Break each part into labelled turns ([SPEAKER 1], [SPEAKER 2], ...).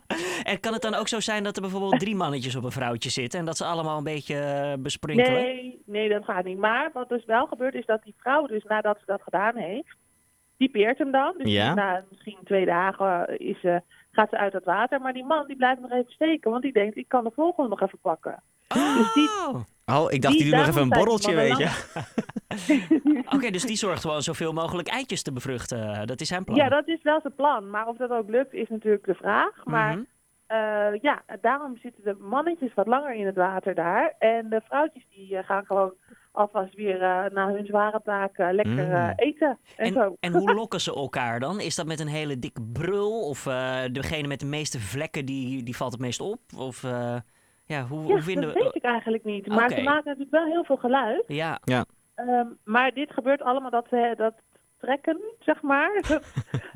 [SPEAKER 1] En kan het dan ook zo zijn dat er bijvoorbeeld drie mannetjes op een vrouwtje zitten en dat ze allemaal een beetje eh, besprinkelen?
[SPEAKER 2] Nee, nee, dat gaat niet. Maar wat dus wel gebeurt is dat die vrouw dus nadat ze dat gedaan heeft, typeert hem dan. Dus
[SPEAKER 3] Ja.
[SPEAKER 2] na misschien twee dagen eh, is, ze gaat ze uit het water. Maar die man die blijft nog even steken, want die denkt ik kan de volgende nog even pakken. Dus die,
[SPEAKER 1] Oh.
[SPEAKER 3] Oh, ik dacht,
[SPEAKER 2] Die
[SPEAKER 3] die doet nog even
[SPEAKER 2] daarom
[SPEAKER 3] een borreltje,
[SPEAKER 2] zijn
[SPEAKER 3] weet
[SPEAKER 2] ze
[SPEAKER 3] je.
[SPEAKER 1] Oké, dus die zorgt gewoon zoveel mogelijk eitjes te bevruchten. Dat is zijn plan.
[SPEAKER 2] ja, dat is wel zijn plan. Maar of dat ook lukt is natuurlijk de vraag. Maar
[SPEAKER 1] Mhm.
[SPEAKER 2] eh, ja, daarom zitten de mannetjes wat langer in het water daar. En de vrouwtjes die eh, gaan gewoon alvast weer eh, na hun zware taak eh, lekker
[SPEAKER 3] Mm.
[SPEAKER 2] eh, eten. En,
[SPEAKER 1] En,
[SPEAKER 2] zo.
[SPEAKER 1] en hoe lokken ze elkaar dan? Is dat met een hele dikke brul? Of eh, degene met de meeste vlekken, die, die valt het meest op? Of eh, ja, hoe, hoe
[SPEAKER 2] ja,
[SPEAKER 1] vinden
[SPEAKER 2] dat
[SPEAKER 1] we...
[SPEAKER 2] weet ik eigenlijk niet. Maar
[SPEAKER 1] Oké.
[SPEAKER 2] ze maken natuurlijk wel heel veel geluid.
[SPEAKER 1] Ja,
[SPEAKER 2] Ehm, maar dit gebeurt allemaal dat ze dat trekken, zeg maar. Dat,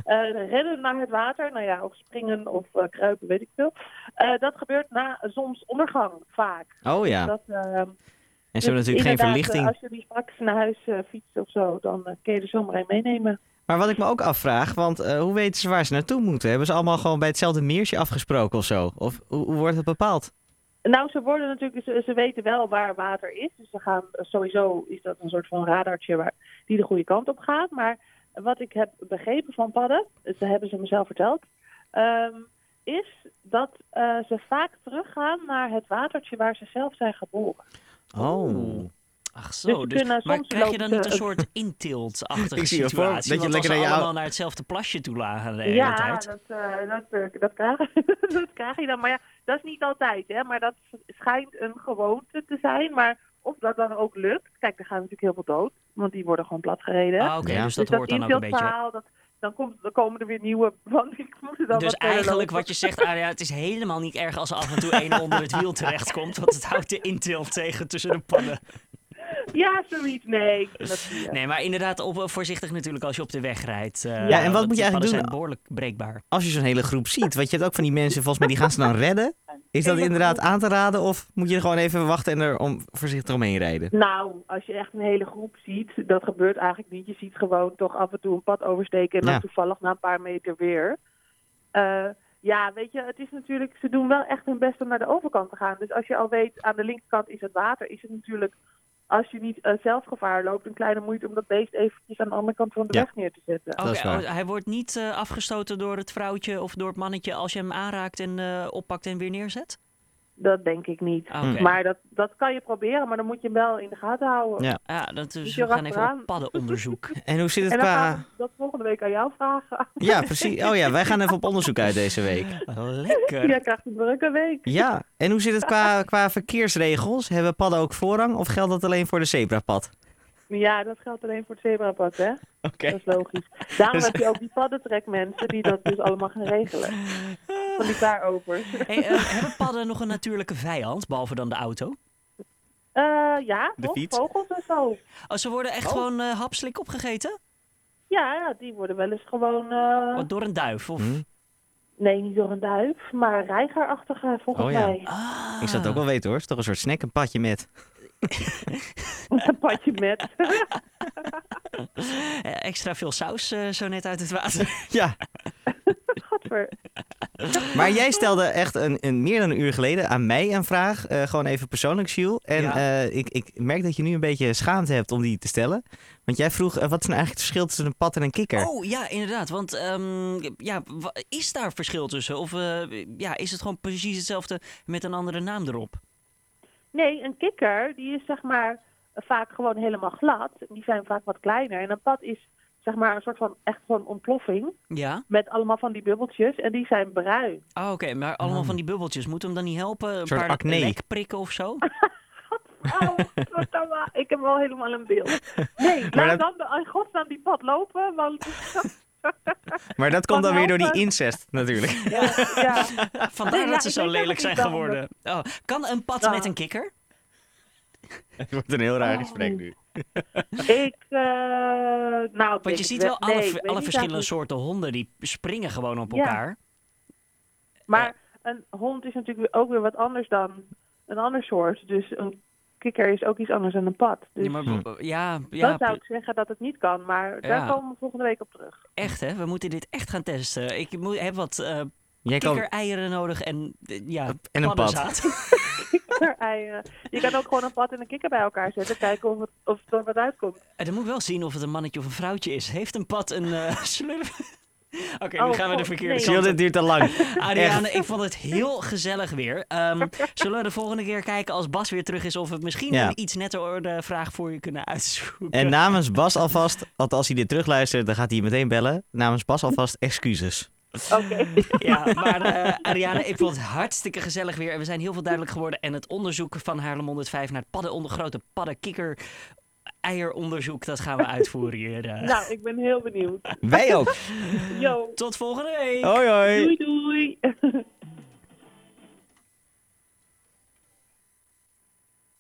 [SPEAKER 2] eh, rennen naar het water, nou ja, of springen of eh, kruipen, weet ik veel. Eh, dat gebeurt na zonsondergang vaak.
[SPEAKER 3] Oh ja,
[SPEAKER 2] Dat, ehm,
[SPEAKER 3] en ze hebben
[SPEAKER 2] dus
[SPEAKER 3] natuurlijk geen
[SPEAKER 2] inderdaad,
[SPEAKER 3] verlichting.
[SPEAKER 2] eh, Als jullie straks naar huis eh, fietsen of zo, dan eh, kun je er zomaar een meenemen.
[SPEAKER 3] Maar wat ik me ook afvraag, want eh, hoe weten ze waar ze naartoe moeten? Hebben ze allemaal gewoon bij hetzelfde meersje afgesproken of zo? Of hoe, hoe wordt het bepaald?
[SPEAKER 2] Nou, ze worden natuurlijk, ze, ze weten wel waar water is. Dus ze gaan sowieso is dat een soort van radartje waar, die de goede kant op gaat. Maar wat ik heb begrepen van padden, dat hebben ze mezelf verteld, ehm, is dat eh, ze vaak teruggaan naar het watertje waar ze zelf zijn geboren.
[SPEAKER 3] Oh.
[SPEAKER 1] ach
[SPEAKER 2] Dus
[SPEAKER 1] zo.
[SPEAKER 2] ze
[SPEAKER 1] Dus,
[SPEAKER 2] kunnen
[SPEAKER 1] maar
[SPEAKER 2] soms
[SPEAKER 1] krijg je dan
[SPEAKER 2] lopen eh,
[SPEAKER 1] niet een
[SPEAKER 2] ze-
[SPEAKER 1] soort intiltachtige
[SPEAKER 3] Ik zie je voor,
[SPEAKER 1] situatie?
[SPEAKER 3] dat je
[SPEAKER 1] want als
[SPEAKER 3] lekker
[SPEAKER 1] ze
[SPEAKER 3] naar je
[SPEAKER 1] allemaal
[SPEAKER 3] oude-
[SPEAKER 1] naar hetzelfde plasje toe lagen de hele
[SPEAKER 2] ja,
[SPEAKER 1] tijd.
[SPEAKER 2] dat, eh, dat, eh, dat, krijg, dat krijg je dan. Maar ja, dat is niet altijd, hè. Maar dat schijnt een gewoonte te zijn. Maar of dat dan ook lukt... Kijk, er gaan natuurlijk heel veel dood. Want die worden gewoon platgereden.
[SPEAKER 1] Ah, Oké,
[SPEAKER 3] Ja.
[SPEAKER 1] dus dat
[SPEAKER 2] dus
[SPEAKER 1] hoort
[SPEAKER 2] dat
[SPEAKER 1] dan ook een beetje...
[SPEAKER 2] inbeeldverhaal, Dat, dan, komt, dan komen er weer nieuwe... Want ik moet er dan
[SPEAKER 1] Dus
[SPEAKER 2] wat verder
[SPEAKER 1] eigenlijk
[SPEAKER 2] lopen.
[SPEAKER 1] wat je zegt, Aria, het is helemaal niet erg als er af en toe één onder het wiel terechtkomt. Want het houdt de intilt tegen tussen de pannen.
[SPEAKER 2] Ja, zoiets. Nee, ik vind dat niet, eh.
[SPEAKER 1] Nee, maar inderdaad, op, voorzichtig natuurlijk als je op de weg rijdt. eh,
[SPEAKER 3] Ja, en
[SPEAKER 1] want
[SPEAKER 3] wat moet
[SPEAKER 1] die
[SPEAKER 3] je eigenlijk
[SPEAKER 1] padden
[SPEAKER 3] doen?
[SPEAKER 1] zijn behoorlijk breekbaar.
[SPEAKER 3] Als je zo'n hele groep ziet, want je hebt ook van die mensen, volgens mij, die gaan ze dan redden. Is dat inderdaad aan te raden of moet je er gewoon even wachten en er om, voorzichtig omheen rijden?
[SPEAKER 2] Nou, als je echt een hele groep ziet, dat gebeurt eigenlijk niet. Je ziet gewoon toch af en toe een pad oversteken en
[SPEAKER 3] Ja.
[SPEAKER 2] dan toevallig na een paar meter weer. Eh, ja, weet je, het is natuurlijk, ze doen wel echt hun best om naar de overkant te gaan. Dus als je al weet, aan de linkerkant is het water, is het natuurlijk, als je niet eh, zelf gevaar loopt, een kleine moeite om dat beest eventjes aan de andere kant van de
[SPEAKER 3] Ja.
[SPEAKER 2] weg neer te zetten.
[SPEAKER 3] Dat is
[SPEAKER 1] Oké,
[SPEAKER 3] waar.
[SPEAKER 1] oh, hij wordt niet eh, afgestoten door het vrouwtje of door het mannetje als je hem aanraakt en eh, oppakt en weer neerzet?
[SPEAKER 2] Dat denk ik niet.
[SPEAKER 1] Ah,
[SPEAKER 3] Hm.
[SPEAKER 1] Oké.
[SPEAKER 2] Maar dat, dat kan je proberen, maar dan moet je hem wel in de gaten houden.
[SPEAKER 3] Ja.
[SPEAKER 1] Ja, dat is,
[SPEAKER 2] Niet
[SPEAKER 1] we
[SPEAKER 2] heel
[SPEAKER 1] gaan even op
[SPEAKER 2] achteraan.
[SPEAKER 1] paddenonderzoek.
[SPEAKER 3] En hoe zit het
[SPEAKER 2] En dan gaan
[SPEAKER 3] qua...
[SPEAKER 2] we dat volgende week aan jou vragen.
[SPEAKER 3] Ja, precies. Oh ja, wij gaan even op onderzoek uit deze week.
[SPEAKER 1] Lekker.
[SPEAKER 2] Jij krijgt een drukke week.
[SPEAKER 3] Ja, en hoe zit het qua, qua verkeersregels? Hebben padden ook voorrang of geldt dat alleen voor de zebrapad?
[SPEAKER 2] Ja, dat geldt alleen voor het zebrapad, hè?
[SPEAKER 3] Oké. Dus-
[SPEAKER 2] Dat is logisch. Daarom heb je ook die paddentrekmensen die dat dus allemaal gaan regelen. Van die daarovers.
[SPEAKER 1] Hey, eh, hebben padden nog een natuurlijke vijand, behalve dan de auto?
[SPEAKER 2] Eh ja,
[SPEAKER 3] De
[SPEAKER 2] nog
[SPEAKER 3] fiets.
[SPEAKER 2] vogels en zo.
[SPEAKER 1] Oh, ze worden echt
[SPEAKER 3] Oh.
[SPEAKER 1] gewoon eh, hapslik opgegeten?
[SPEAKER 2] Ja, ja, die worden wel eens gewoon... eh,
[SPEAKER 1] Wat, Oh, door een duif? Of...
[SPEAKER 3] Hm?
[SPEAKER 2] nee, niet door een duif, maar reigerachtige volgens
[SPEAKER 3] Oh ja.
[SPEAKER 2] mij.
[SPEAKER 1] Ah.
[SPEAKER 3] Ik zou het ook wel weten hoor. Het is toch een soort snack, een padje met.
[SPEAKER 2] Een padje met.
[SPEAKER 1] Eh, extra veel saus eh, zo net uit het water.
[SPEAKER 3] Ja,
[SPEAKER 2] Gadver.
[SPEAKER 3] maar jij stelde echt een, een, meer dan een uur geleden aan mij een vraag. eh, gewoon even persoonlijk, Jules. En
[SPEAKER 1] Ja.
[SPEAKER 3] eh, ik, ik merk dat je nu een beetje schaamte hebt om die te stellen. Want jij vroeg, eh, wat is nou eigenlijk het verschil tussen een pad en een kikker?
[SPEAKER 1] Oh ja, inderdaad. Want ehm, ja, wa- is daar verschil tussen? Of eh, ja, is het gewoon precies hetzelfde met een andere naam erop?
[SPEAKER 2] Nee, een kikker die is zeg maar vaak gewoon helemaal glad. Die zijn vaak wat kleiner. En een pad is zeg maar een soort van echt gewoon ontploffing.
[SPEAKER 1] Ja.
[SPEAKER 2] Met allemaal van die bubbeltjes. En die zijn bruin.
[SPEAKER 1] Oh, Oké, maar allemaal van die bubbeltjes. Moet hem dan niet helpen? Een
[SPEAKER 3] soort
[SPEAKER 1] paar
[SPEAKER 3] acne.
[SPEAKER 1] lekprikken of zo?
[SPEAKER 2] Oh, godverdomme. ik heb wel helemaal een beeld. Nee,
[SPEAKER 3] Maar
[SPEAKER 2] laat dan dan in godsnaam die pad lopen, want
[SPEAKER 3] Maar dat komt
[SPEAKER 2] Kan
[SPEAKER 3] dan weer door die
[SPEAKER 2] helpen.
[SPEAKER 3] incest natuurlijk.
[SPEAKER 2] ja, ja.
[SPEAKER 1] Ah, Vandaar
[SPEAKER 2] Ja,
[SPEAKER 1] dat ze
[SPEAKER 2] ik
[SPEAKER 1] zo
[SPEAKER 2] weet
[SPEAKER 1] lelijk zijn
[SPEAKER 2] eigenlijk niet
[SPEAKER 1] geworden. Oh, kan een pad
[SPEAKER 2] Ja.
[SPEAKER 1] met een kikker?
[SPEAKER 3] Het wordt een heel raar gesprek nu.
[SPEAKER 2] ik, eh nou,
[SPEAKER 1] Want je ziet wel alle, v- alle verschillende soorten honden die springen gewoon op
[SPEAKER 2] Ja.
[SPEAKER 1] elkaar.
[SPEAKER 2] Maar een hond is natuurlijk ook weer wat anders dan een ander soort. Dus een kikker is ook iets anders dan een pad. Dus
[SPEAKER 1] Ja, maar,
[SPEAKER 3] Hm.
[SPEAKER 1] ja,
[SPEAKER 2] dan
[SPEAKER 1] ja
[SPEAKER 2] zou ik zeggen dat het niet kan, maar daar
[SPEAKER 1] Ja.
[SPEAKER 2] komen we volgende week op terug.
[SPEAKER 1] echt hè. We moeten dit echt gaan testen. Ik moet, heb wat eh,
[SPEAKER 3] Jij kan...
[SPEAKER 1] Kikkereieren nodig en eh, ja,
[SPEAKER 3] En een pad.
[SPEAKER 1] paddenzaad.
[SPEAKER 2] Eieren. Je kan ook gewoon een pad en een kikker bij elkaar zetten. Kijken of het, of het er wat uitkomt.
[SPEAKER 1] En Eh, dan moet ik wel zien of het een mannetje of een vrouwtje is. Heeft een pad een eh slurp? Oké,
[SPEAKER 2] Oh,
[SPEAKER 1] nu gaan we de
[SPEAKER 2] god,
[SPEAKER 1] verkeerde
[SPEAKER 2] nee.
[SPEAKER 1] kant
[SPEAKER 3] Chill,
[SPEAKER 1] op.
[SPEAKER 3] dit duurt te lang.
[SPEAKER 1] Adriane, ik vond het heel gezellig weer. Ehm, zullen we de volgende keer kijken als Bas weer terug is... of we misschien
[SPEAKER 3] Ja.
[SPEAKER 1] een iets netter orde vraag voor je kunnen uitzoeken?
[SPEAKER 3] En namens Bas alvast, want als hij dit terugluistert, dan gaat hij meteen bellen. Namens Bas alvast excuses.
[SPEAKER 2] Oké.
[SPEAKER 1] Ja, maar eh Ariane, ik vond het hartstikke gezellig weer. En we zijn heel veel duidelijk geworden. En het onderzoek van Haarlem 105 naar het padden onder, grote paddenkikker... Eieronderzoek, dat gaan we uitvoeren hier. eh.
[SPEAKER 2] Nou, ik ben heel benieuwd.
[SPEAKER 3] Wij ook.
[SPEAKER 2] Yo.
[SPEAKER 3] Oh.
[SPEAKER 1] Tot volgende week!
[SPEAKER 3] Hoi
[SPEAKER 2] Doei
[SPEAKER 3] hoi.
[SPEAKER 2] doei.